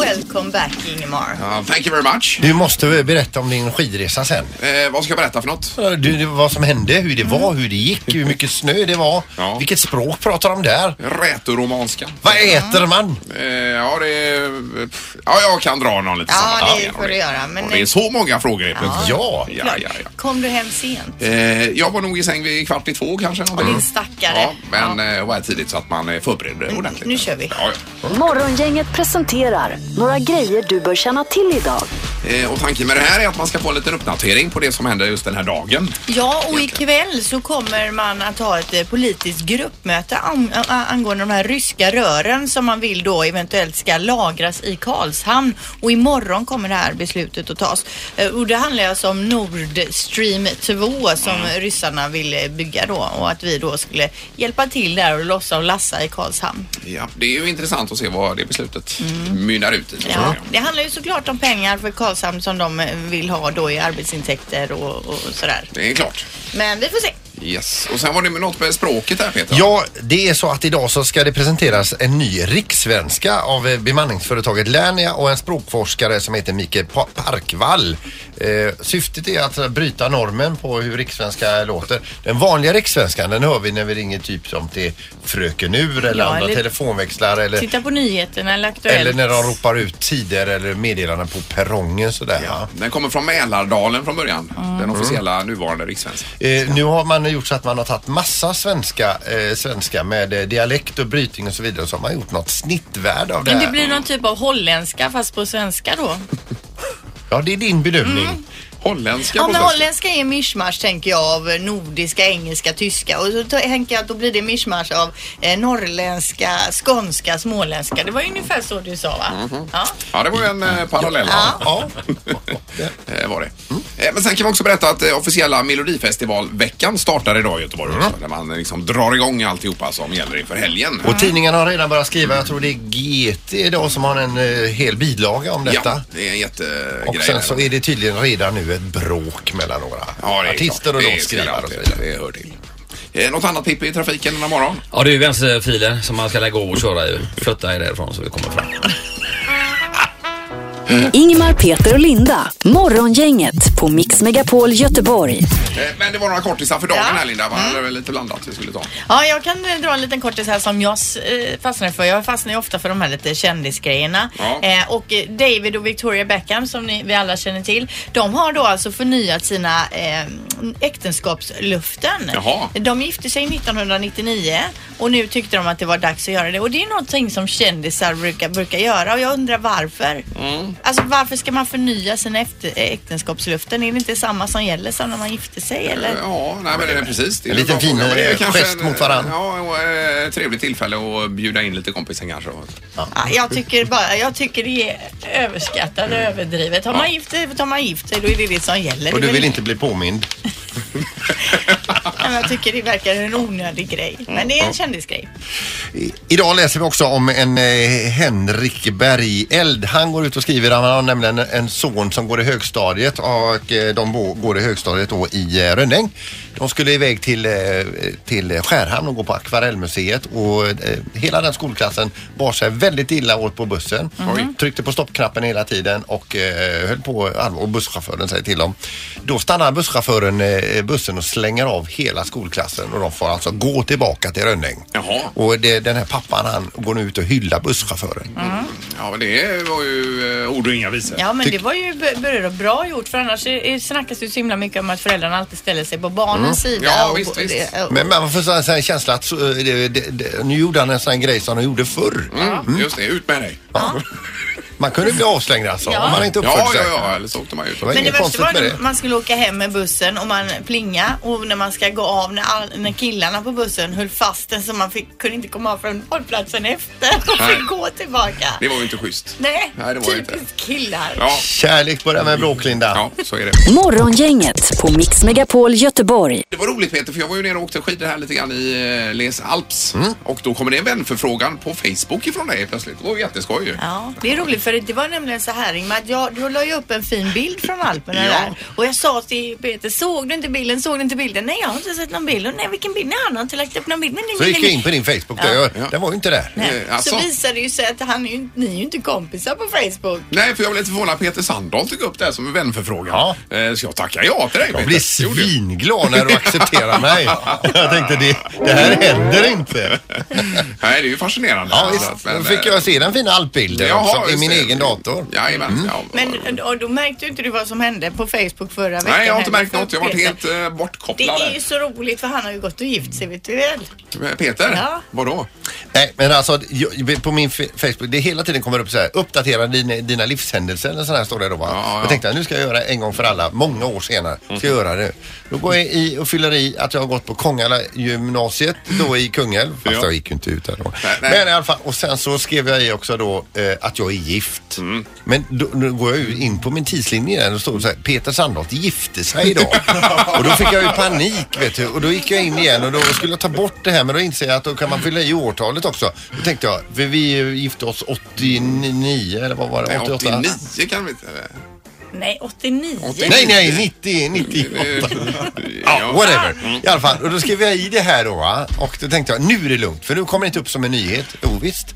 Welcome back Ingemar. Ja, thank you very much. Du måste väl berätta om din skidresa sen. Eh, vad ska jag berätta för något? Ja, Du, du, vad som hände, hur det var, hur det gick, hur mycket snö det var. Ja. Vilket språk pratar de där? Rätoromanska. Vad äter man? Eh, ja, det är... pff, Ja, jag kan dra någon lite Ja, sammanhang det igen. får du göra, men- och det är så många frågor helt plötsligt. Ja. ja, ja, ja. Kom du hem sent? Eh, jag var nog i säng vid kvart i två kanske. din stackare. Ja, men eh, jag var här tidigt så att man är förberedd ordentligt. nu kör vi. Ja, ja. Morgongänget presenterar några grejer du bör känna till idag. Eh, och tanken med det här är att man ska få en liten uppdatering på det som händer just den här dagen. Ja, och ikväll så kommer man att ha ett eh, politiskt gruppmöte an- a- angående de här ryska rören som man vill då eventuellt ska lagras i Karlshamn. Och imorgon kommer det här beslutet att tas. Eh, Och det handlar alltså om Nord Stream 2 som Mm. ryssarna vill eh, bygga då och att vi då skulle hjälpa till där och lossa och lassa i Karlshamn. Ja, det är ju intressant att se vad det beslutet mynnar ut i. Mm. Ja, det handlar ju såklart om pengar för Karlshamn som de eh, vill ha då i arbetsintäkter och, och sådär. Det är klart. Men vi får se. Yes. Och sen var det med något med språket där Peter. Ja, det är så att idag så ska det presenteras en ny rikssvenska av eh, bemanningsföretaget Lernia och en språkforskare som heter Mikael Pa- Parkvall. Eh, syftet är att bryta normen på hur rikssvenska låter. Den vanliga rikssvenskan den hör vi när vi ringer typ som till Fröken Ur eller Ja, andra eller- telefonväxlar eller Titta på nyheterna eller Aktuellt. Eller när de ropar ut tider eller meddelanden på perrongen sådär. va? Den kommer från Mälardalen från början. Mm. Den officiella nuvarande rikssvenskan. Eh, nu har man gjort så att man har tagit massa svenska, eh, svenska med eh, dialekt och brytning och så vidare. Så har man gjort något snittvärde av det Men här. det blir någon typ av holländska fast på svenska då? Ja, det är din bedömning. Mm. Holländska Ja på men svenska. holländska är mischmasch tänker jag av nordiska, engelska, tyska och så t- tänker jag att då blir det mischmasch av eh, norrländska, skånska, småländska. Det var ju ungefär så du sa va? Mhm. Ja. Ja, det var ju en eh, parallell. Ja. Eh, var det. Eh, Men sen kan vi också berätta att eh, officiella Melodifestivalveckan startar idag i Göteborg. också, Där man eh, liksom drar igång alltihopa som gäller inför helgen. Mm. Och tidningarna har redan börjat skriva. Jag tror det är GT idag som har en eh, hel bilaga om detta. Ja, det är en jättegrej. Och sen där. så är det tydligen redan nu ett bråk mellan några Ja, det är artister klart. och Det är låtskrivare såklart. och så vidare. Det hör till. Eh, Något annat Pippi i trafiken denna morgon? Ja, det är ju vänsterfilen som man ska lägga av och köra i. Flytta er därifrån så vi kommer fram. Ingmar, Peter och Linda. Morgongänget på Mix Megapol Göteborg. Eh, Men det var några kortisar för dagen Ja. här Linda. Man Mm. hade väl lite blandat vi skulle ta. Ja, jag kan eh, dra en liten kortis här som jag eh, fastnar för. Jag fastnar ju ofta för de här lite kändisgrejerna. Ja. Eh, och eh, David och Victoria Beckham som ni, vi alla känner till. De har då alltså förnyat sina eh, äktenskapsluften. Jaha. De gifte sig 1999 och nu tyckte de att det var dags att göra det. Och det är någonting som kändisar brukar, brukar göra och jag undrar varför. Mm. Alltså varför ska man förnya sina efter, eh, äktenskapsluften? Är det inte samma som gäller som när man gifte sig eller? Ja, nej, men det är precis. Det är En liten bra fin, fråga, men det är eh, kanske gest en, mot varann. Ja, och eh, trevligt tillfälle att bjuda in lite kompisar kanske. Ja, jag tycker bara, jag tycker det är överskattat och överdrivet. Har man gift sig, har man gift sig, då är det det som gäller. Och Det du är vill väl- inte bli påmind? Ja, men Jag tycker det verkar en onödig grej. Mm. Men det är en kändisgrej. I- Idag läser vi också om en eh, Henrik Bergeld. Han går ut och skriver, han har nämligen en son som går i högstadiet och eh, de bo, går i högstadiet då i eh, Rönnäng. De skulle iväg till, eh, till Skärhamn och gå på Akvarellmuseet och eh, hela den skolklassen bar sig väldigt illa åt på bussen. Tryckte på stoppknappen hela tiden och eh, höll på allvar och busschauffören säger till dem. Då stannar busschauffören eh, bussen och slänger av hela skolklassen och de får alltså gå tillbaka till Rönnäng. Jaha. Och det, den här pappan han går nu ut och hyllar busschauffören. Ja, men det var ju eh, ord och inga visor. Ja, men det var ju b- b- bra gjort för annars är- är- snackas det ju så himla mycket om att föräldrarna alltid ställer sig på barnens Mm. sida. Ja, visst, det- visst. och- Men man får så här- så här en känsla att så, eh, det, det, det, nu gjorde han en sån här grej som han gjorde förr. Mm, Just det, ut med dig. Man kunde bli avslängd alltså Ja. om man inte uppförde Ja, ja, sig. ja, eller så åkte man ut. Det Men var det inget värsta konstigt var med när det. man skulle åka hem med bussen och man plinga och när man ska gå av när, all, när killarna på bussen höll fast den så man fick, kunde inte komma av från hållplatsen efter och Nej. fick gå tillbaka. Det var ju inte schysst. Nej, Nej, det var det inte. typiskt killar. Ja, Kärlek börjar med bråk Linda. ja, så är det. Morgongänget på Mix Megapol Göteborg. Det var roligt Peter, för jag var ju nere och åkte skidor här lite grann i eh, Les Alps. Mm. Och då kommer det en vänförfrågan på Facebook ifrån dig plötsligt. Det var ju jätteskoj ju. Ja, det är roligt för det var nämligen så här Ingmar, att jag, du la ju upp en fin bild från Alperna Ja. där och jag sa till Peter, såg du inte bilden, såg du inte bilden? Nej, jag har inte sett någon bild. Och nej, vilken bild? Nej, han har inte lagt upp någon bild. Men Så gick jag in på din Facebook där. Ja. Jag, den var ju inte där. Nej. Eh, alltså. Så visar det ju sig att han är ju, ni är ju inte kompisar på Facebook. Nej, för jag blev lite förvånad. Peter Sandahl tog upp det här som en vänförfrågan. Eh, Så jag tackar ja till dig Peter. Jag blir Det gjorde jag. svinglad när du accepterar mig. Jag tänkte det, det här händer inte. Nej, det är ju fascinerande. Ja, Så att, visst. men, Då fick eh, jag se den fina alpbilden jaha, också, i just min det. egen dator. Mm. Jajamän. Ja, Men eh, och då märkte ju inte du vad som hände på Facebook förra veckan. Nej, jag har inte heller märkt för något. Jag har varit Peter. helt Det eh, bortkopplad. är ju så roligt för han har ju gått och gift sig vet du väl. Eh, Peter, Ja. vadå? Nej, men alltså jag- på min fe- Facebook, det hela tiden kommer upp så här, uppdatera dina, dina livshändelser eller sådär står det då va? Ja, ja. Mm. Jag tänkte nu ska jag göra en gång för alla, många år senare, ska jag göra det. Då går jag i och fyller i att jag har gått på Kongala gymnasiet då i Kungälv, fast Ja. jag gick ju inte ut där då. Nej, nej. Men i alla fall, och sen så skrev jag i också då eh, att jag är gift. Mm. Men då, då går jag ju in på min tidslinje där och då står det så här, Peter Sandholt gifte sig idag. och då fick jag ju panik vet du och då gick jag in igen och då skulle jag ta bort det här men då inser jag att då kan man fylla i årtalet också. Då tänkte jag, för vi gifte oss 89 eller vad var det? Nej, 88? 89 kan vi inte... eh, Nej, 89. 89. Nej, nej, 90, 98. Eh, Ja, whatever. I alla fall, och då skrev jag i det här då va? och då tänkte jag nu är det lugnt för nu kommer det inte upp som en nyhet. Jo, visst.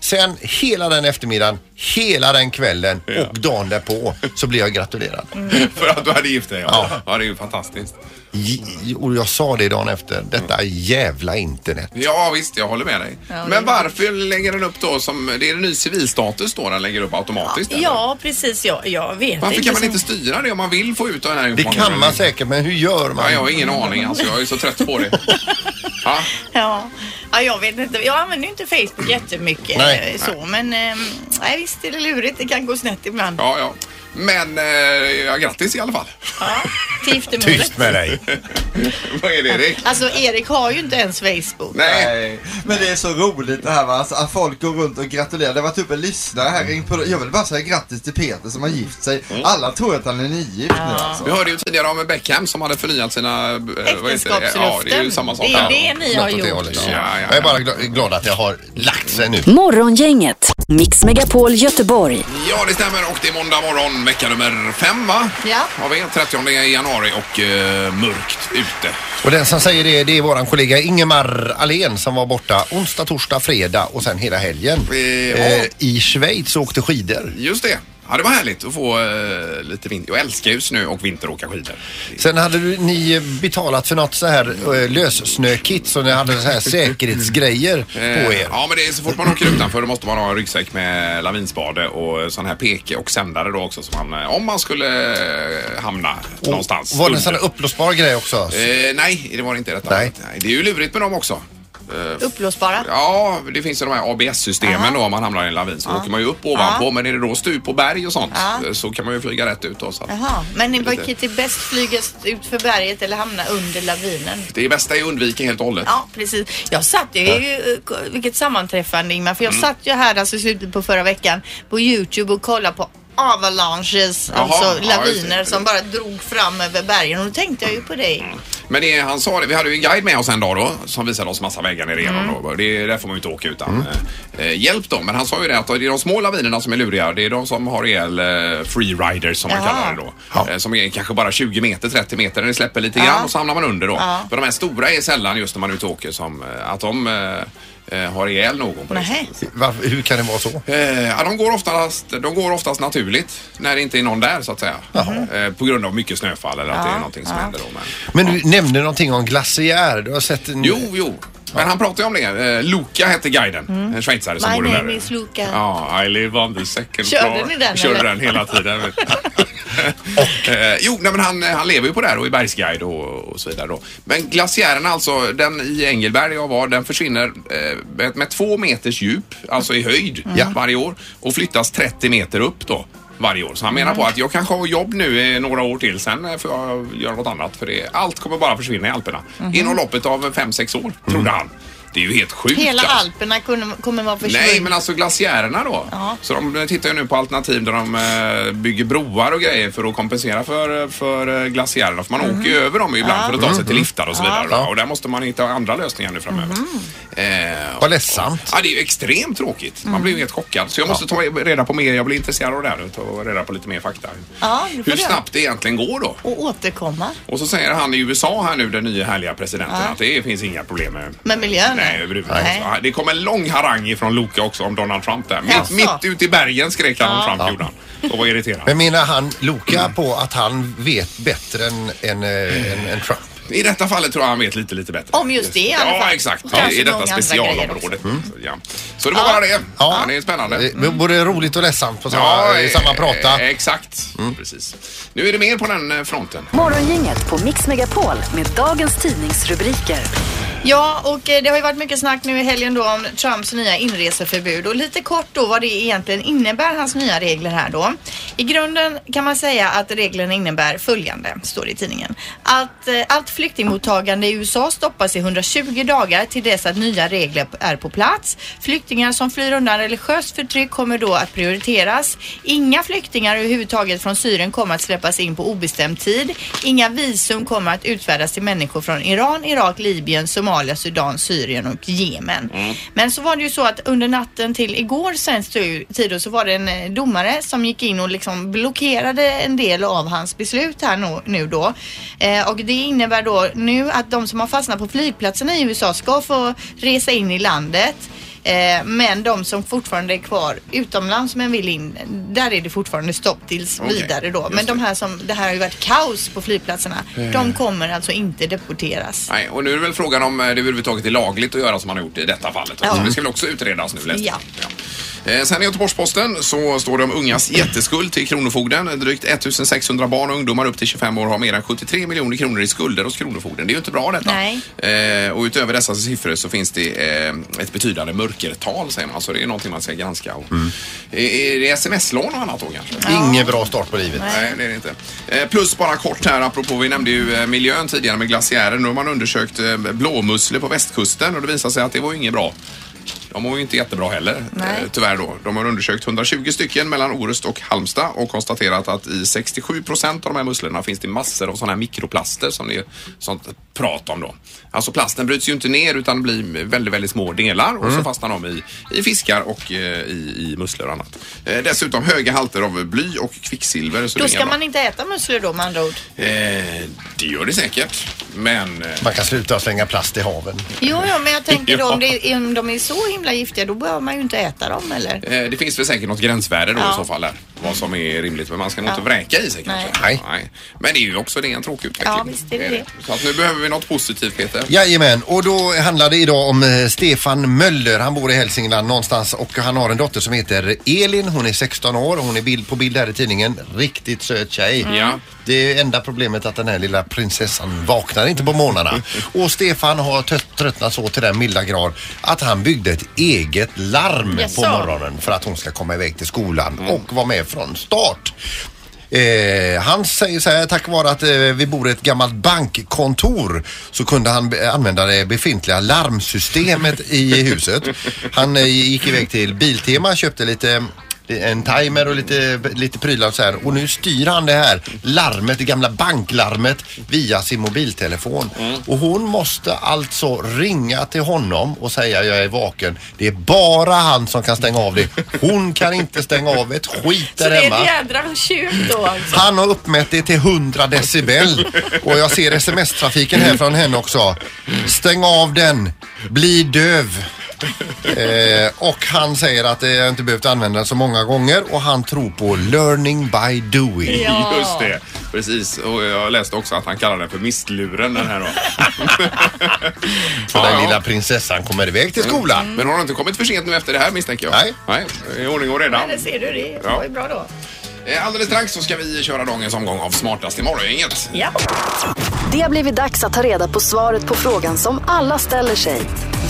Sen hela den eftermiddagen, hela den kvällen Ja. och dagen därpå så blev jag gratulerad. För att du hade gift dig, ja. Ja, det är ju fantastiskt. J- Och jag sa det dagen efter, detta jävla internet. Ja, visst, jag håller med dig. det Men är- varför lägger den upp då som... Det är en ny civilstatus då den lägger upp automatiskt? eller? Ja, precis. Jag, jag vet Varför kan man så- inte styra det om man vill få ut den här Det informationen? kan man säkert men hur gör man? Ja, jag har ingen aning alltså. Jag är så trött på det. Ja, Ja. ja, jag vet inte. Jag använder ju inte Facebook jättemycket. Nej. eh, så, Men ehm, nej, visst är det lurigt. Det kan gå snett ibland. ja. ja. Men eh, ja, grattis i alla fall. Ja. Till giftermålet. Tyst med dig. Vad är det Erik? Alltså, Erik har ju inte ens Facebook. Nej. Men det är så roligt det här va, alltså, att folk går runt och gratulerar. Det var typ en lyssnare här ringde på Jag vill bara säga grattis till Peter som har gift sig. Mm. Alla tror att han är nygift nu alltså. Vi hörde ju tidigare om Beckham som hade förnyat sina... eh, vad heter det? Äktenskapsluften. Ja, det är ju samma sak. Det är det ni har Något åt det gjort. hållet. Ja, ja, ja. Jag är bara gla- glad att jag har lagt sig nu. Morgongänget, Mix Megapol Göteborg. Ja, det stämmer. Och det är måndag morgon, vecka nummer fem, va? Ja. Har vi 30 januari och eh, mörkt ute. Och den som säger det, det är våran kollega Ingemar Alén som var borta onsdag, torsdag, fredag och sen hela helgen. Eh, ja. Eh, I Schweiz och åkte skidor. Just det. Ja, det var härligt att få eh, lite vinter. Jag älskar ju snö och vinter och åka skidor. Sen hade du, ni eh, betalat för något så här eh, lössnökit så ni hade så här säkerhetsgrejer Eh, på er. Ja, men det är så fort man åker utanför då måste man ha en ryggsäck med lavinspade och sån här peke och sändare då också som man, eh, om man skulle eh, hamna någonstans. Var det en sån under. här uppblåsbar grej också? Eh, nej, det var det inte detta. Nej. Det är ju lurigt med dem också. Upplåsbara. Ja, det finns ju de här ABS-systemen då om man hamnar i en lavin så åker man ju upp ovanpå men är det då stup på berg och sånt eh, så kan man ju flyga rätt ut då. Så att Jaha, men ni Det är brukar lite- till bäst flyga ut för berget eller hamna under lavinen. Det bästa är att undvika helt och hållet. Ja, precis. Jag satt ju, ju vilket sammanträffande Ingmar, för jag satt ju här alltså i slutet på förra veckan på Youtube och kollade på avalanches, Jaha, ja, alltså just det. laviner som bara drog fram över bergen och då tänkte jag ju på dig. Men det, han sa det, vi hade ju en guide med oss en dag då som visade oss massa vägar ner Mm. igenom. då. Det, där får man ju inte åka utan eh, hjälp då. Men han sa ju det att det är de små lavinerna som är luriga. Det är de som har ihjäl eh, freeriders som man Jaha. kallar det då. Eh, som är kanske bara 20 meter, 30 meter. Det släpper lite grann och så hamnar man under då. För de här stora är sällan just när man är ute och åker som eh, att de eh, eh, har ihjäl någon på det Nähä. sättet. Varför, hur kan det vara så? Eh, ja, de, går oftast, de går oftast naturligt när det inte är någon där så att säga. Eh, på grund av mycket snöfall eller att det är någonting som händer då. Men, Men du nämnde någonting om glaciär. Du har sett en... Jo, jo. Men han pratade ju om det. Eh, Luca hette guiden. En schweizare som Mm. My bor där. name is Luca. Ja, I live on the second Körde floor. ni den, Körde eller? den hela tiden. vet du. Eh, jo, nej, men han, han lever ju på det här och i bergsguide och, och så vidare då. Men glaciären alltså, den i Engelberg där jag var, den försvinner eh, med, med två meters djup, alltså i höjd Mm. varje år och flyttas 30 meter upp då varje år. Så han menar på Mm. att jag kanske har jobb nu eh, några år till, sen eh, får jag göra något annat för det, allt kommer bara försvinna i Alperna. Mhm. Inom loppet av fem sex år, trodde han. Det är ju helt sjukt. Mm. Hela alltså. Alperna kunde- kommer vara Nej, men försvunna. alltså glaciärerna då. Ja. Så de tittar ju nu på alternativ där de eh, bygger broar och grejer för att kompensera för, för eh, glaciärerna. För man Mhm. åker ju över dem ibland för att ta sig till liftar och så vidare. Ja. Och där måste man hitta andra lösningar nu framöver. Mhm. Eh, Vad ledsamt. Ja, det är ju extremt tråkigt. Mm. Man blir ju helt chockad. Så jag måste ta reda på mer. Jag blir intresserad av det här och ta reda på lite mer fakta. Ja, det får Hur du. snabbt det egentligen går då. Och återkomma Och så säger han i USA här nu, den nya härliga presidenten, att det finns inga problem med med miljön. Nej, överhuvudtaget. Nej. Så, Det kom en lång harang ifrån Loka också om Donald Trump där. Mitt, Jaså? mitt ute i bergen skrek han om Trump gjorde han. Och var irriterad. Men menar han Loka på att han vet bättre än, än, eh, än, än Trump? I detta fallet tror jag han vet lite, lite bättre. Om just det i alla Ja, fall. exakt. Och kanske I detta många andra specialområde. Ja. Så det var bara det. Ja. Det är spännande. Eh, Både roligt och ledsamt på samma, i samma eh, prata. Exakt. Mm. Precis. Nu är det mer på den eh, fronten. Morgongänget på Mix Megapol med dagens tidningsrubriker. Ja, och eh, det har ju varit mycket snack nu i helgen då om Trumps nya inreseförbud och lite kort då vad det egentligen innebär, hans nya regler här då. I grunden kan man säga att reglerna innebär följande, står det i tidningen. Att eh, allt flyktingmottagande i USA stoppas i 120 dagar till dess att nya regler är på plats. Flyktingar som flyr undan religiöst förtryck kommer då att prioriteras. Inga flyktingar överhuvudtaget från Syrien kommer att släppas in på obestämd tid. Inga visum kommer att utfärdas till människor från Iran, Irak, Libyen, Somalia, Sudan, Syrien och Jemen. Mm. Men så var det ju så att under natten till igår svensk tid då, så var det en eh, domare som gick in och liksom blockerade en del av hans beslut här nu, nu då. Eh, och det innebär då nu att de som har fastnat på flygplatserna i USA ska få resa in i landet. Eh, Men de som fortfarande är kvar utomlands men vill in, där är det fortfarande stopp tills Okej, vidare då. Men just de det. här som, det här har ju varit kaos på flygplatserna. De kommer alltså inte deporteras. Nej, och nu är det väl frågan om eh, det överhuvudtaget är lagligt att göra som man har gjort i detta fallet. Ja. Så det ska väl också utredas nu läste jag. Ja. Ja. Eh, Sen i Göteborgs-Posten så står det om ungas jätteskuld till Kronofogden. Drygt 1600 barn och ungdomar upp till 25 år har mer än 73 miljoner kronor i skulder hos Kronofogden. Det är ju inte bra detta. Eh, och utöver dessa siffror så finns det eh, ett betydande mörkertal säger man. Så det är någonting man ska granska. Och, Mm. Eh, Är det sms-lån och annat då kanske? Ingen bra start på livet. Nej, det är det inte. Eh, Plus bara kort här, apropå vi nämnde ju eh, miljön tidigare med glaciären. Nu har man undersökt eh, blåmusslor på västkusten och det visar sig att det var ju inget bra. De var ju inte jättebra heller, Nej. eh, tyvärr då. De har undersökt 120 stycken mellan Orust och Halmstad och konstaterat att i 67 procent av de här musslorna finns det massor av sådana här mikroplaster som det är sånt prat om då. Alltså plasten bryts ju inte ner utan blir väldigt, väldigt små delar och så fastnar de i, i fiskar och eh, i, i musslor och annat. Eh, Dessutom höga halter av bly och kvicksilver. Så det Då är inga ska bra. man inte äta musslor då med andra ord. Eh, det gör det säkert, men... eh, Man kan sluta slänga plast i haven. Jo, jo, men jag tänker då om, Ja. det, om de är så himla giftiga då behöver man ju inte äta dem eller? eh, Det finns väl säkert något gränsvärde då Ja. i så fall där, vad som är rimligt. Men man ska nog inte vräka i sig kanske. Nej. Men det är ju också det är en tråkig utveckling. Ja, visst är det det. Så att nu behöver vi något positivt Peter. Jajamän, och då handlar det idag om eh, Stefan Möller. Han bor i Hälsingland någonstans och han har en dotter som heter Elin. Hon är 16 år och hon är bild på bild här i tidningen. Riktigt söt tjej. Mm. Ja. Det är enda problemet att den här lilla prinsessan vaknar inte på morgnarna. Och Stefan har trött- tröttnat så till den milda grad att han byggde ett eget larm Jaså? på morgonen för att hon ska komma iväg till skolan och vara med från start. Eh, han säger så här, tack vare att eh, vi bor i ett gammalt bankkontor så kunde han be- använda det befintliga larmsystemet i huset. Han eh, gick iväg till Biltema, köpte lite en timer och lite, lite prylar och så här. Och nu styr han det här larmet, det gamla banklarmet via sin mobiltelefon. Mm. Och hon måste alltså ringa till honom och säga jag är vaken. Det är bara han som kan stänga av det. Hon kan inte stänga av ett skit Så där det är hemma. ett jädra tjuv då alltså. Han har uppmätt det till 100 decibel och jag ser sms-trafiken här från henne också. Stäng av den, bli döv. Eh, och han säger att eh, jag inte behövt använda den så många gånger och han tror på learning by doing. Ja. Just det, precis. Och jag läste också att han kallar den för mistluren den här då. Så den lilla prinsessan kommer iväg till skolan. Mm. Men har han inte kommit för sent nu efter det här misstänker jag? Nej. Nej, i ordning och reda. Eller ser du det? Ja. Det var ju bra då. Eh, Alldeles strax så ska vi köra dagens omgång av Smartast i morgongänget. Ja. Det har blivit dags att ta reda på svaret på frågan som alla ställer sig.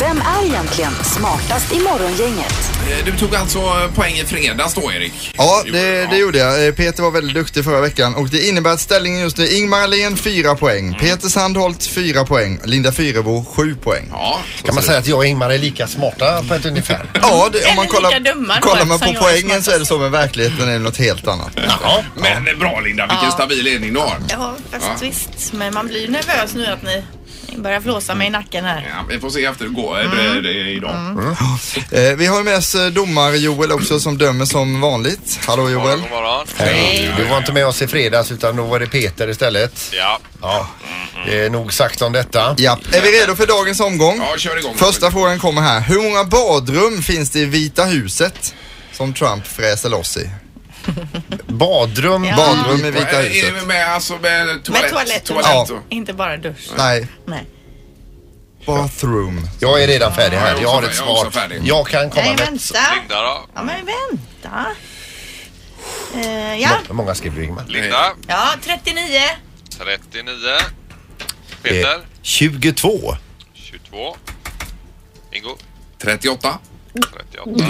Vem är egentligen smartast i morgongänget? Eh, Du tog alltså poäng i fredags då, Erik? Ja, Jo, det, det gjorde jag. Eh, Peter var väldigt duktig förra veckan och det innebär att ställningen just nu är Ingmar Ahlén 4 poäng, Mm. Peter Sandholt 4 poäng, Linda Fyrebo 7 poäng. Ja, Kan man säga att jag och Ingmar är lika smarta på ett ungefär? Ja, det, om man Eller lika dumma kollar, då, kollar man eftersom på jag är poängen så är det så, men verkligheten är något helt annat. Ja. Men eh, bra Linda, vilken stabil ledning du har. Ja, fast visst. Men man blir ju nervös nu att ni ni börjar flåsa mig i nacken här. Ja, vi får se efter hur det går eh, det- det- idag. Eh, vi har med oss eh, domar-Joel också som dömer som vanligt. Hallå Joel. Hej. Eh, Du var inte med oss i fredags utan då var det Peter istället. Ja. Ja. Det är nog sagt om detta. Ja, är vi redo för dagens omgång? Ja, kör igång. Första frågan kommer här. Hur många badrum finns det i Vita huset som Trump fräser loss i? Badrum. Badrum i Eh, Vita huset. eh, Med, alltså med toalett. Med toaletten. toalett. Ja. Inte bara dusch. Nej, Nej. bathroom. Jag är redan färdig här. Ja, jag är Jag har ett också- jag är också svar. färdig. Jag kan komma Nej, med... vänta. Ja, men vänta. Eh, ja. Hur många skrev du Ingmar? Linda. ja, 39. 39. Eh, 22. 22. Ingo. 38. 38.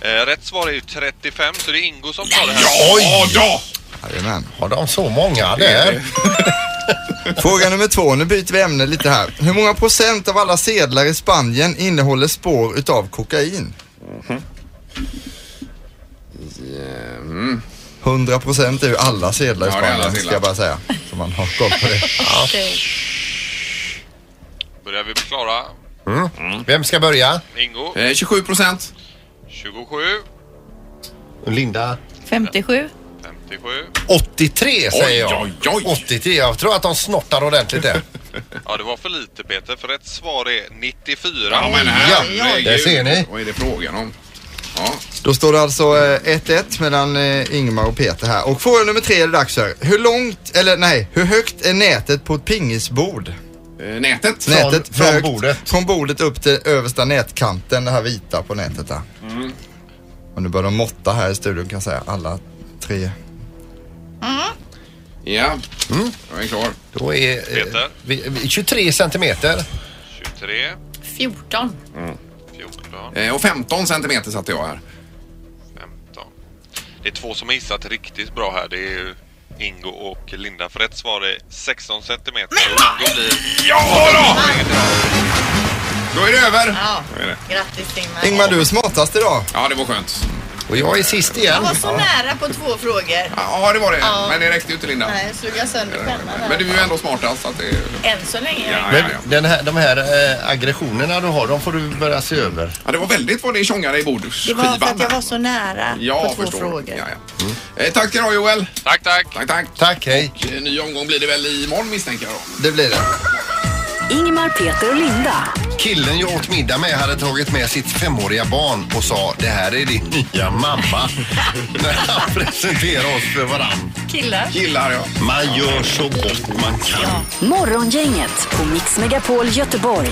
Eh, rätt svar är ju 35 så det är Ingo som tar det här. Oj då! Jajamän. Har de så många där? Fråga nummer två, nu byter vi ämne lite här. Hur många procent av alla sedlar i Spanien innehåller spår utav kokain? Mm-hmm. 100 procent är ju alla sedlar i Ja, det är alla Spanien, ska sedlar. jag bara säga. Så man har koll på det. Börjar vi bli klara? Vem ska börja? Ingo. Eh, 27 procent. 27. Linda? 57. 57. 83 säger jag. Oj, oj, oj. 83. Jag tror att de snortar ordentligt där. Ja, det var för lite Peter för rätt svar är 94. Ja, men herregud. där ser ni. Vad är det frågan om? Ja. Då står det alltså eh, 1-1 mellan eh, Ingmar och Peter här. Och fråga nummer tre är det dags för. Hur långt, eller nej, hur högt är nätet på ett pingisbord? Eh, Nätet. Nätet från högt, bordet. Från bordet upp till översta nätkanten, det här vita på nätet där. Mm. Och nu börjar de måtta här i studion kan jag säga, alla tre. Ja. Mm. Jag är klar. Då är eh, Peter? vi- vi- 23 centimeter. 23. 14. 14. Eh, Och 15 centimeter satte jag här. 15. Det är två som har gissat riktigt bra här. Det är ju Ingo och Linda. För rätt svar är 16 centimeter. Och Ingo blir... Ja då! Då är det över. Ja. Då är det. Grattis Ingmar. Ingmar, du är smartast idag. Ja, det var skönt. Och jag är sist Jag igen. var så nära på två frågor. Ja, det var det. Ja. Men det räckte ju inte, Linda. Nej, slog jag sönder pennan Men här. du är ju ändå smartast. Så att det... Än så länge. Ja, ja, Men ja. den här, de här eh, aggressionerna du har, de får du börja se över. ja, det var väldigt vad det tjongade i Det bordsskivan. var för att jag var så nära Ja, på två förstår. frågor. Ja, ja. Eh, tack ska du ha, Joel. Tack, tack! Tack, tack. Tack, hej. Och, eh, Ny omgång blir det väl imorgon misstänker jag då. Det blir det. Ingmar, Peter och Linda. Killen jag åt middag med hade tagit med sitt femåriga barn och sa det här är din nya mamma. När han presenterade oss för varann. Killar. Gillar jag. Man gör så gott man kan. Morgongänget på Mix Megapol Göteborg.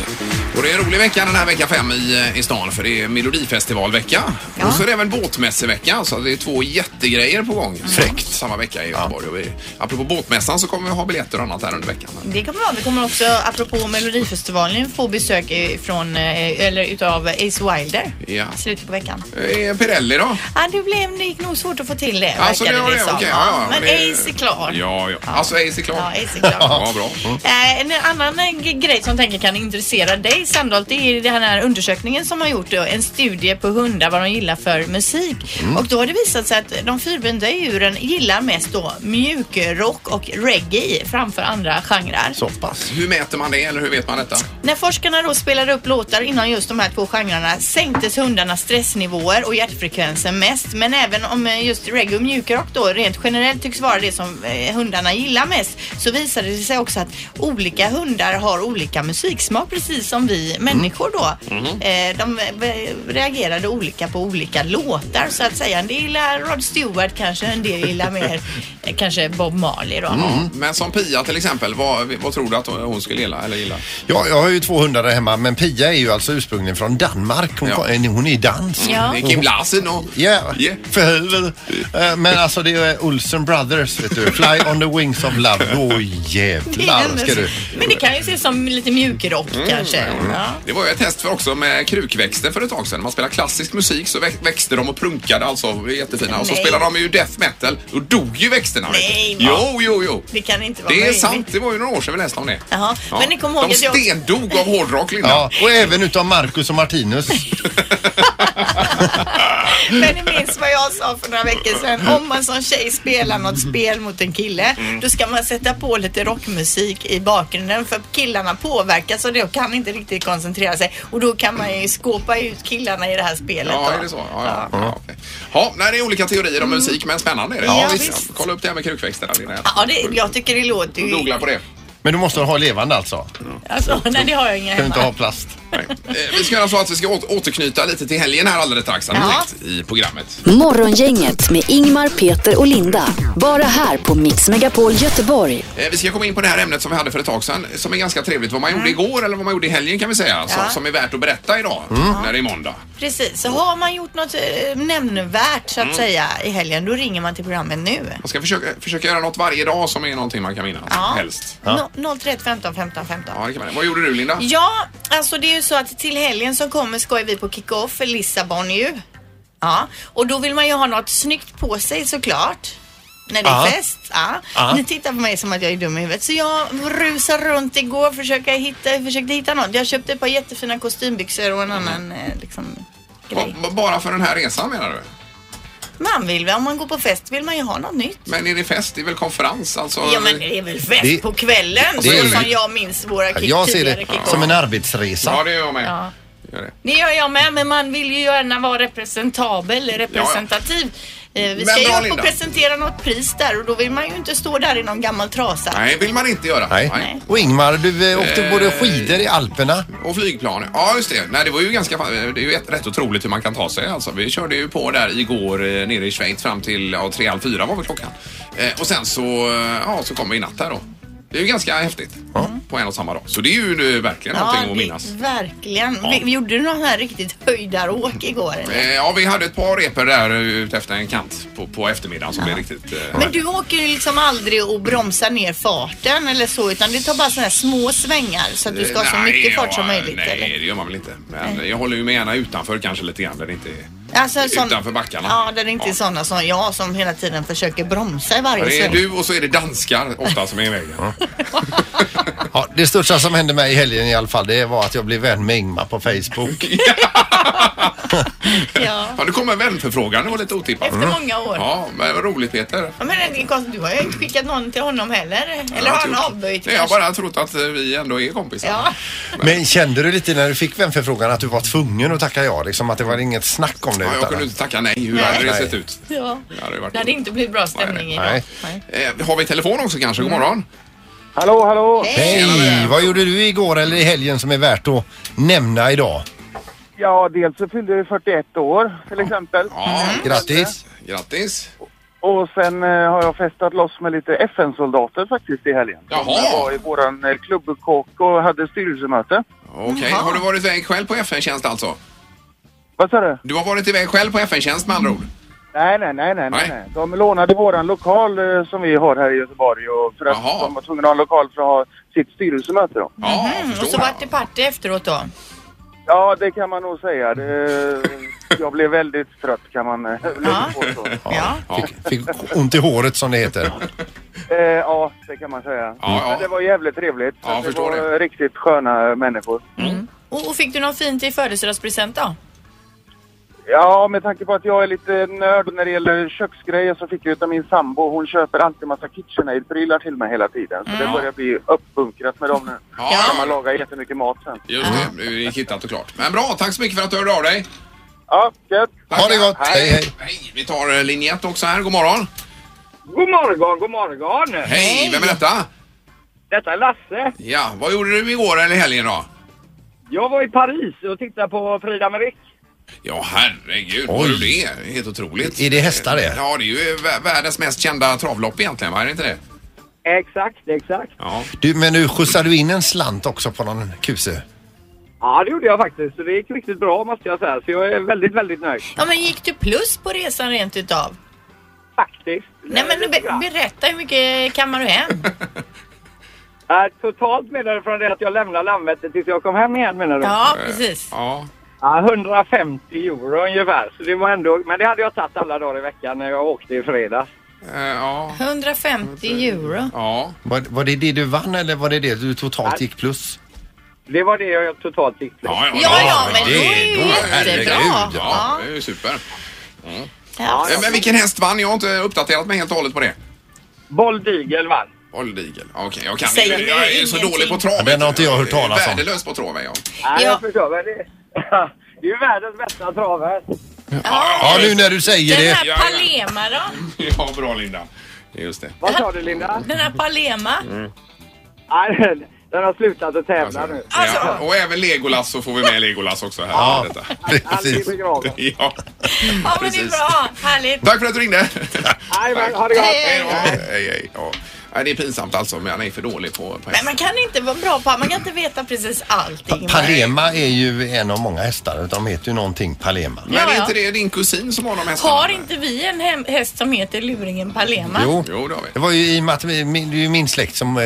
Och det är en rolig vecka den här vecka fem i, i stan för det är Melodifestivalvecka. Och så är det även båtmässevecka så det är två jättegrejer på gång. Fräckt. Samma vecka i Göteborg. Och vi, apropå båtmässan så kommer vi ha biljetter och annat här under veckan. Det kommer vara. Vi kommer också, apropå Melodifestivalen, få besök ifrån, eh, eller utav Ace Wilder Ja. i slutet på veckan. Eh, Pirelli då? Ja, det, blev, det gick nog svårt att få till det, Alltså, verkade det var det, som. okej, ja, ja, Men det- Ace är klar. Ja, ja. Alltså Ace är klar. Ja, Ace är klar. Ja, bra. Mm. Eh, En annan eh, g- grej som jag tänker kan intressera dig Sandholt det är den här undersökningen som har gjort då, en studie på hundar vad de gillar för musik. Mm. Och då har det visat sig att de fyrbenta djuren gillar mest då mjukrock och reggae framför andra genrer. Så pass. Hur mäter man det eller hur vet man detta? När forskarna då spelade upp låtar inom just de här två genrerna sänktes hundarnas stressnivåer och hjärtfrekvensen mest. Men även om eh, just reggae och mjukrock då rent generellt tycks vara det som eh, hundarna gillar mest så visade det sig också att olika hundar har olika musiksmak precis som vi Mm. människor då. Mm-hmm. Eh, De eh, reagerade olika på olika låtar så att säga. En del gillar Rod Stewart kanske, en del gillar mer eh, kanske Bob Marley Mm. då. Men som Pia till exempel, vad, vad tror du att hon skulle gilla? Eller gilla? Ja, jag har ju två hundar där hemma Pia, men Pia är ju alltså ursprungligen från Danmark. Hon, Ja. kom- eh, hon är dansk. Ja. Det är Kim Larsen och... Ja, Yeah. för helvete. Eh, Men alltså det är Olsen Brothers, vet du. Fly on the wings of love. Åh jävlar ska du. Men det kan ju ses som lite mjukrock Mm. kanske. Ja. Det var ju ett test för också med krukväxter för ett tag sedan. Man spelar klassisk musik så väx- växte de och prunkade alltså. Det är Jättefina. Och så Nej. spelade de ju death metal. Då dog ju växterna. vet du. Nej, va? Jo, jo, jo. Det kan inte vara Det är möjligt. sant. Det var ju några år sedan vi läste om det. Jaha. Men ni kommer ihåg de att jag- stendog av hårdrock, Linda. Ja, och även utav Marcus och Martinus. Men ni minns vad jag sa för några veckor sedan. Om man som tjej spelar något spel mot en kille, Mm. då ska man sätta på lite rockmusik i bakgrunden för killarna påverkas och då kan inte riktigt koncentrera sig. Och då kan man ju skåpa ut killarna i det här spelet. Ja, då. är det så? Ja, ja. Ja. okej. ja, nej, det är olika teorier om musik, men spännande är det. Mm. Ja, Ja, visst. visst. Kolla upp det här med krukväxterna, Linnea. Ja, det, jag tycker det låter ju... Googla på det. Men du måste ha levande alltså. Alltså, nej, det har jag inga Kan du inte hemma. ha plast. Nej. Eh, Vi ska göra så att vi ska å- återknyta lite till helgen här alldeles strax, hade vi Ja. tänkt, i programmet. Morgongänget med Ingmar, Peter och Linda. Bara här på Mix Megapol Göteborg. Eh, Vi ska komma in på det här ämnet som vi hade för ett tag sedan, som är ganska trevligt. Vad man gjorde igår eller vad man gjorde i helgen kan vi säga, som, Mm. Ja. Mm. som är värt att berätta idag, när det är måndag. Precis, så har man gjort något eh, nämnvärt så att Mm. säga i helgen, då ringer man till programmet nu. Man ska försöka, försöka göra något varje dag som är någonting man kan vinna, Ja. helst. No, 031 15 15 15. Ja, det kan man. Vad gjorde du, Linda? Ja, alltså det är ju så att till helgen som kommer ska ju vi på kick-off för Lissabon ju. Ja, och då vill man ju ha något snyggt på sig såklart. När det är Ja. fest. Ja. Ni tittar på mig som att jag är dum i huvudet. Så jag rusar runt igår försökte hitta, försökte hitta något. Jag köpte ett par jättefina kostymbyxor och en Mm. annan eh, liksom, Ba- grej. ba- Bara för den här resan menar du? Man vill väl, om man går på fest vill man ju ha något nytt. Men är det fest? Det är väl konferens? Alltså, Ja men det är väl fest Det- på kvällen det är så det. som jag minns våra kick, Jag ser tidigare det kick-off. som en arbetsresa. ja, det gör jag med. Ja. Gör det. Det gör jag med, men man vill ju gärna vara representabel, representativ. Eh, Vi Men ska ju bra, upp Linda. och presentera något pris där och då vill man ju inte stå där i någon gammal trasa. Nej, vill man inte göra. Nej. Nej. Och Ingmar, du eh, åkte både skidor i Alperna. Och flygplan. Ja, just det. Nej, det var ju ganska... Det är ju ett- rätt otroligt hur man kan ta sig alltså. Vi körde ju på där igår eh, nere i Schweiz fram till ja, tre, halv fyra var väl klockan. Eh, och sen så, eh, ja, så kom vi i natt där då. Det är ju ganska häftigt på en och samma dag. Så det är ju eh, verkligen någonting att det- minnas. verkligen. Vi, vi gjorde någon här riktigt höjdaråk igår. eller? Eh, Ja, vi hade ett par repor där eh, ute efter en kant på, på eftermiddagen som blev riktigt... Eh, Men du åker ju liksom aldrig och bromsar ner farten eller så utan det tar bara sådana här små svängar så att du ska ha så Nej, mycket fart ja, som möjligt. Nej, eller? det gör man väl inte. Men jag håller ju med ena utanför kanske lite grann där det inte är... Alltså, sån- utanför backarna. Ja, där det inte är Ja. sådana som jag som hela tiden försöker bromsa i Ja, varje Det är sväng. du och så är det danskar ofta som är i vägen. Ja, det största som hände mig i helgen i alla fall, det var att jag blev vän med Ingmar på Facebook. Ja. Ja, det kom en vänförfrågan. Det var lite otippat. Efter många år. Ja, men vad roligt Peter. Ja, men det är konstigt, du har ju inte skickat någon till honom heller. Eller har han avböjt Nej, jag har kanske? bara trott att eh, vi ändå är kompisar. Ja. Men kände du lite när du fick vänförfrågan att du var tvungen att tacka ja? Liksom att det var inget snack om det? Ja, jag utan- kunde inte tacka nej. Hur Nej. hade det Nej. sett ut? ja. Det hade ju varit Det hade inte blivit bra stämning Nej, idag. nej. Eh, har vi telefon också kanske? Mm. God morgon. Hallå, hallå! Hej! Vad gjorde du igår eller i helgen som är värt att nämna idag? Ja, dels så fyllde jag 41 år till exempel. Ja, Mm. Grattis! grattis. Och sen eh, har jag festat loss med lite FN-soldater faktiskt i helgen. Jaha. Jag var i våran eh, klubbkock och hade styrelsemöte. Okej, har du varit iväg själv på FN-tjänst alltså? Vad sa du? Du har varit iväg själv på FN-tjänst med andra Mm. ord? Nej, nej, nej, nej, Nej. nej. nej. De lånade våran lokal eh, som vi har här i Göteborg och för att Jaha. de var tvungna att ha en lokal för att ha sitt styrelsemöte då. Ja, jag Mm, och så förstår. vart det party efteråt då. Ja, det kan man nog säga. Det, jag blev väldigt trött kan man eh, lugnt påstå. Ja. Fick, fick ont i håret som det heter. Eh, ja, det kan man säga. Ja, ja. Men det var jävligt trevligt. Ja, jag det förstår var eh, riktigt sköna människor. Och, och fick du något fint i födelsedagspresent då? Ja, med tanke på att jag är lite nörd när det gäller köksgrejer så fick jag utav min sambo. Hon köper alltid massa KitchenAid-prylar till mig hela tiden. Så det börjar bli uppbunkrat med dem nu. Ja. Man lagar jättemycket mat sen. Just det, det gick hittat och klart. Men bra, tack så mycket för att du hörde av dig. Ja, gött! Ha det gott! Hej, hej! Hej, vi tar eh, linje ett också här. God morgon. God morgon, god morgon! Hej, vem är detta? Detta är Lasse. Ja, vad gjorde du igår eller i helgen då? Jag var i Paris och tittade på Frida Merick. Ja, herregud. Oj. Var du det? Helt otroligt. Är det hästar det? Ja, det är ju eh, vä- världens mest kända travlopp egentligen, va? Är det inte det? Exakt, exakt. Ja. Du, men nu skjutsade du in en slant också på någon kuse? Ja, det gjorde jag faktiskt. Så det gick riktigt bra måste jag säga. Så jag är väldigt, väldigt nöjd. Ja, men gick du plus på resan rent utav? Faktiskt. Nej, men nu be- berätta hur mycket kammar du hem? Äh, totalt menar du från det att jag lämnade Landvetter tills jag kom hem igen menar du? Ja, precis. Ja. Ja, 150 euro ungefär. Så det var ändå, men det hade jag tagit alla dagar i veckan när jag åkte i fredags. eh, ja. 150 euro. Ja. Var, var det det du vann eller var det det du totalt gick plus? Det var det jag totalt gick plus. Ja, Ja, ja, men då är ju herregud. jättebra. Ja, Ja. det är ju super. Mm. Ja. Eh, Men vilken häst vann? Jag har inte uppdaterat mig helt och hållet på det. Bold Eagle vann. Bold Eagle. Okej, jag kan Säger jag, jag är mig så ingenting. dålig på trav. Den har inte jag hört talas om. Värdelös på trav är jag. Ja, Ja. jag förstår. Men det, det är ju världens bästa travhäst. Ja, nu när du säger Den det. här Palema då? Ja, bra Linda. Just det. Vad sa du Linda? Den här Palema? Ja, den, den har slutat att tävla nu. Alltså- Ja, och även Legolas så får vi med Legolas också här. Ja, i detta. Allt är precis. begravet. Ja. Ja, men det är Precis. bra. Härligt. Tack för att du ringde. Jajamän, ha det gott. Hej då. Hej, hej. Ja. Nej, Det är pinsamt alltså, men han är för dålig på, på Men häst. man kan inte vara bra på, man kan inte veta precis allting. Palema är ju en av många hästar. De heter ju någonting Palema. Men är Ja, inte det din kusin som har de hästarna? Har inte vi en hem- häst som heter luringen Palema? Jo. Jo, det har vi. Det var ju i och med att vi- min, det är ju min släkt som... eh,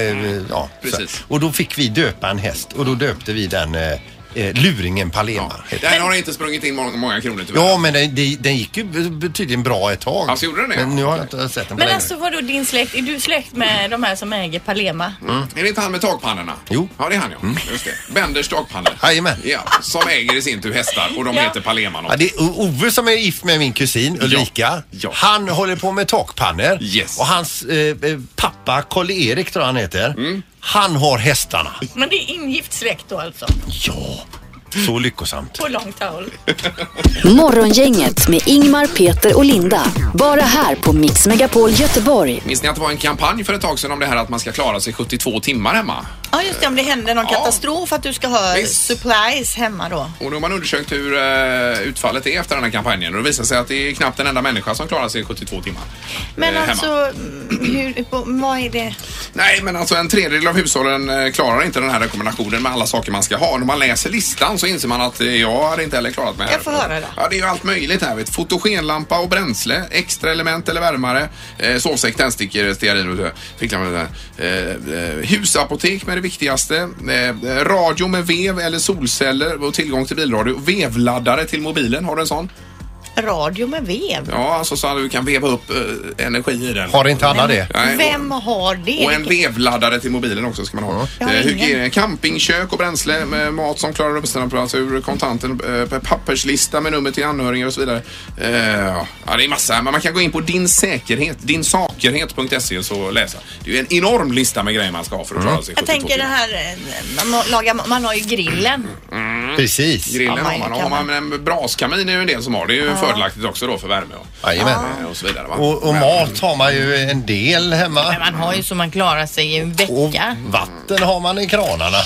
Ja, precis. Så, och då fick vi döpa en häst och då döpte vi den eh, eh, luringen Palema. heter Den har inte sprungit in många, många kronor tyvärr. den. Ja, men den, den- den gick ju be- tydligen bra ett tag. Alltså, gjorde den det? Men nu har jag inte sett den på Men länge. alltså vadå din släkt? Är du släkt med de här som äger Palema? Är det inte han med takpannorna? Jo. Mm. Ja, det är han ja. Just det. Benders takpannor. Jajamän. Ja, som äger i sin tur hästar och de Ja. heter Palema. Ja, det är O- Ove som är gift med min kusin Ulrika. Ja. Han håller på med takpannor. Yes. Och hans eh, eh, pappa, Karl-Erik tror jag han heter, Mm. han har hästarna. Men det är ingift släkt då alltså? Ja, så lyckosamt. På långt håll? Morgongänget med Ingmar, Peter och Linda. Bara här på Mix Megapol Göteborg. Minns ni att det var en kampanj för ett tag sedan om det här att man ska klara sig 72 timmar hemma? Ja just det, om det händer någon Ja. katastrof att du ska ha Visst. supplies hemma då. Och då har man undersökt hur eh, utfallet är efter den här kampanjen och det visar sig att det är knappt en enda människa som klarar sig 72 timmar. Men eh, alltså, Hemma. mm, hur, på, vad är det? Nej, men alltså en tredjedel av hushållen eh, klarar inte den här rekommendationen med alla saker man ska ha. När man läser listan så inser man att eh, jag hade inte heller klarat mig här. Jag får höra då. Ja, det är ju allt möjligt här. Vet. Fotogenlampa och bränsle, extra element eller värmare, eh, sovsäck, tändstickor, stearin och så. Ficklampa, eh, eh, husapotek med det viktigaste, eh, radio med vev eller solceller och tillgång till bilradio. Vevladdare till mobilen, har du en sån? Radio med vev? Ja, alltså så att du kan veva upp eh, energi i den. Har inte alla det? Nej, och- Vem har det? och en vevladdare till mobilen också ska man ha. Jag har Eh, ingen. hygien, campingkök och bränsle med mat som klarar uppställningsapparatur, kontanter, eh, papperslista med nummer till anhöriga och så vidare. Eh, ja, det är massa. Men man kan gå in på din säkerhet, dinsakerhet.se och så läsa. Det är ju en enorm lista med grejer man ska ha för att Mm. klara sig Jag 72 tänker det timmar. här, eh, man, må- lagar, man har ju grillen. Precis. Grillen Ja, har man man. Har kan man en braskamin är ju en del som har. Det är ju fördelaktigt också då för värme och, Jajamän. eh, och så vidare. Va? Och, och Men- mat har man ju en del hemma. Men man har ju så man klarar sig i en Och vecka. vatten har man i kranarna.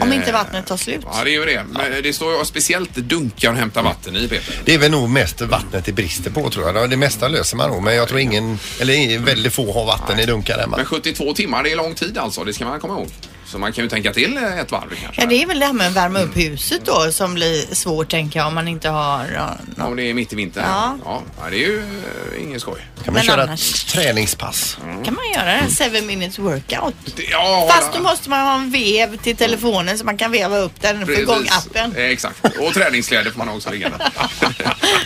Om inte vattnet tar slut. Ja, det är ju det. Men det står ju speciellt dunkar och hämta vatten i, Peter. Det är väl nog mest vattnet det brister på tror jag. Det mesta löser man nog men jag tror ingen, eller ingen- väldigt få har vatten i dunkar hemma. Men 72 timmar, det är lång tid alltså. Det ska man komma ihåg. Så man kan ju tänka till eh, ett varv kanske. Ja, det är väl det här med att värma upp huset då som blir svårt tänker jag om man inte har ja, någon. Om det är mitt i vintern. Ja. ja ja, det är ju eh, ingen skoj. Kan man Men köra annars- ett träningspass? Kan man göra en 7 minutes workout? Det- Ja, Fast då hålla- måste man ha en vev till telefonen så man kan veva upp den och få Precis. igång appen. Eh, Exakt. Och träningskläder får man också liggande.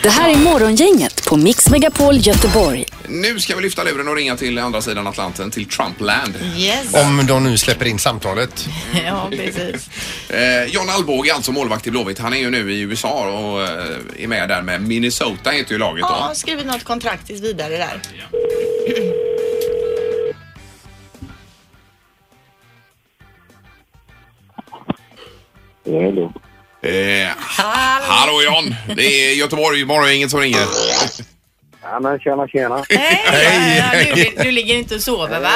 Det här är Morgongänget på Mix Megapol Göteborg. nu ska vi lyfta luren och ringa till andra sidan Atlanten, till Trumpland. Yes, Om de nu släpper in samtalet. ja precis. Eh, John Alvbåge, alltså målvakt i Blåvitt, han är ju nu i USA och eh, är med där med Minnesota heter ju laget Ja, då. har skrivit något kontrakt tills vidare där. Eh, hallå John! Det är Göteborg, morgon, ingen som ringer. Ja, men tjena, tjena. Hej! ja, ja, Du, du ligger inte och sover va?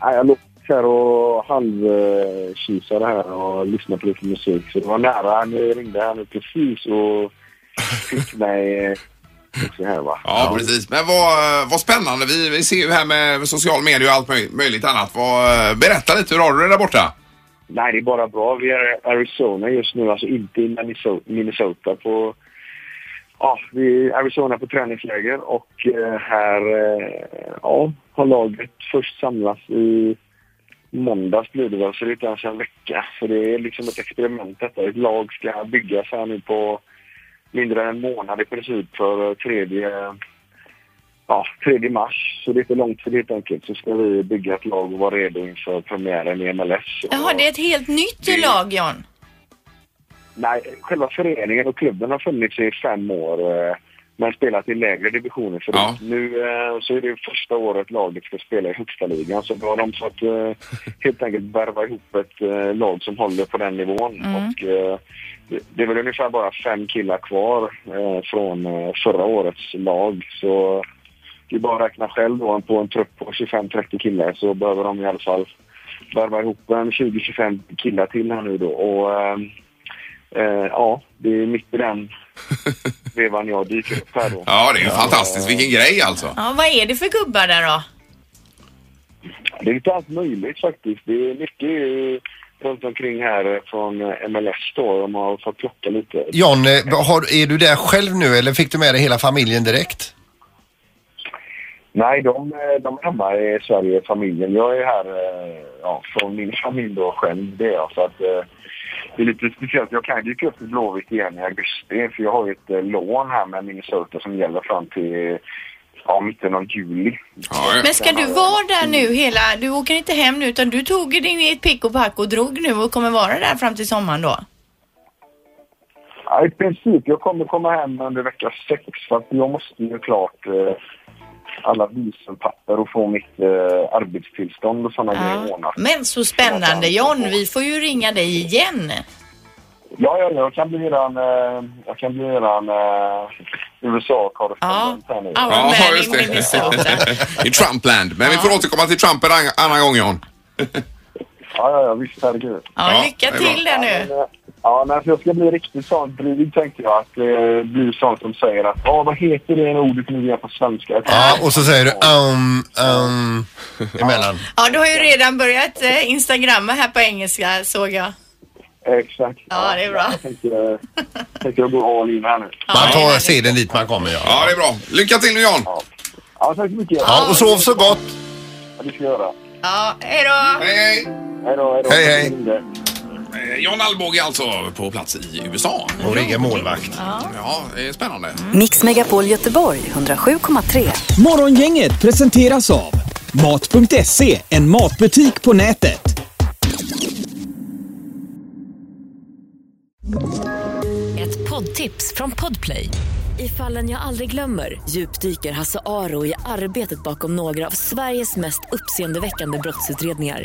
Ja, jag låg här och halvkisade här och lyssnade på lite musik. Så det var nära. Nu ringde han precis och fick mig eh, också här va. Ja, precis. Men vad, vad spännande. Vi, eh, vi ser ju här med social media och allt möj- möjligt annat. Vad, berätta lite, hur har du det där borta? Nej, det är bara bra. Vi är i Arizona just nu, alltså inte i Minneso- Minnesota. På, ja, vi är i Arizona på träningsläger och eh, här eh, ja, har laget först samlats i måndags blir det väl, så det är inte ens en vecka. Så det är liksom ett experiment detta. Ett lag ska byggas här nu på mindre än en månad i princip för eh, tredje, ja, tredje mars. Så det är inte långt för det helt enkelt. Så ska vi bygga ett lag och vara redo inför premiären i MLS. Jaha, det är ett helt nytt lag John. Nej, själva föreningen och klubben har funnits i fem år eh, men spelat i lägre divisioner förut. Nu eh, så är det första året laget ska spela i högsta ligan så då har de fått eh, helt enkelt värva ihop ett eh, lag som håller på den nivån. Mm. Och, eh, det- det är väl ungefär bara fem killar kvar eh, från eh, förra årets lag. Så det är bara att räkna själv då, på en trupp på 25-30 killar så behöver de i alla fall värva ihop en 20-25 killar till här nu då. Och, ehm, eh, ja, det är mitt i den vevan jag dyker upp här då. Ja, det är fantastiskt. Vilken grej alltså. Ja, vad är det för gubbar där då? Det är inte allt möjligt faktiskt. Det är mycket eh, runt omkring här eh, från eh, MLS då. De har fått plocka lite. John, eh, har, är du där själv nu eller fick du med dig hela familjen direkt? Nej, de, eh, de är hemma i Sverige, familjen. Jag är här eh, ja, från min familj då själv. Det är jag. Så att, eh, det är lite speciellt. Jag kan dyka upp i Blåvitt igen i augusti för jag har ju ett eh, lån här med Minnesota som gäller fram till eh, ja, mitten av juli. Men ska du vara där nu hela, du åker inte hem nu utan du tog din i ett pick och pack och drog nu och kommer vara där fram till sommaren då? Ja, i princip. Jag kommer komma hem under vecka sex för att jag måste ju klart eh, alla visumpapper och få mitt eh, arbetstillstånd och sådana grejer ordnat. Men så spännande John, vi får ju ringa dig igen. Ja, ja, jag kan bli eran, eh, jag kan bli eran eh, USA-korrespondent här nu. Ja, just det. I Trumpland. Men vi får återkomma till Trump en annan- annan gång John. Ja, ja, ja, visst, herregud. Ja, lycka det är bra. till där nu. Ja, men, eh, Ja, nej, för jag ska bli riktigt sån dryg tänkte jag. Att eh, bli sån som säger att ja, vad heter det ordet nu igen på svenska? Ja, Ah, och så säger du um, um, emellan. Ja, du har ju redan börjat eh, instagramma här på engelska såg jag. Eh, Exakt. Ja, det är bra. Jag tänker, eh, tänker jag gå all in här nu. Man tar seden dit man kommer ja. Ja, det är bra. Lycka till nu John! Ja, tack så mycket. Ja, och sov så gott. Ja, det ska jag göra. Ja, hej då! Hej, hej! Hej då, hej då. Hej, hej. Eh, John Alvbåge alltså på plats i USA. Och det är målvakt. Ja, det är spännande. Mix Megapol Göteborg 107,3. Morgongänget presenteras av Mat.se, en matbutik på nätet. Ett poddtips från Podplay. I fallen jag aldrig glömmer djupdyker Hasse Aro i arbetet bakom några av Sveriges mest uppseendeväckande brottsutredningar.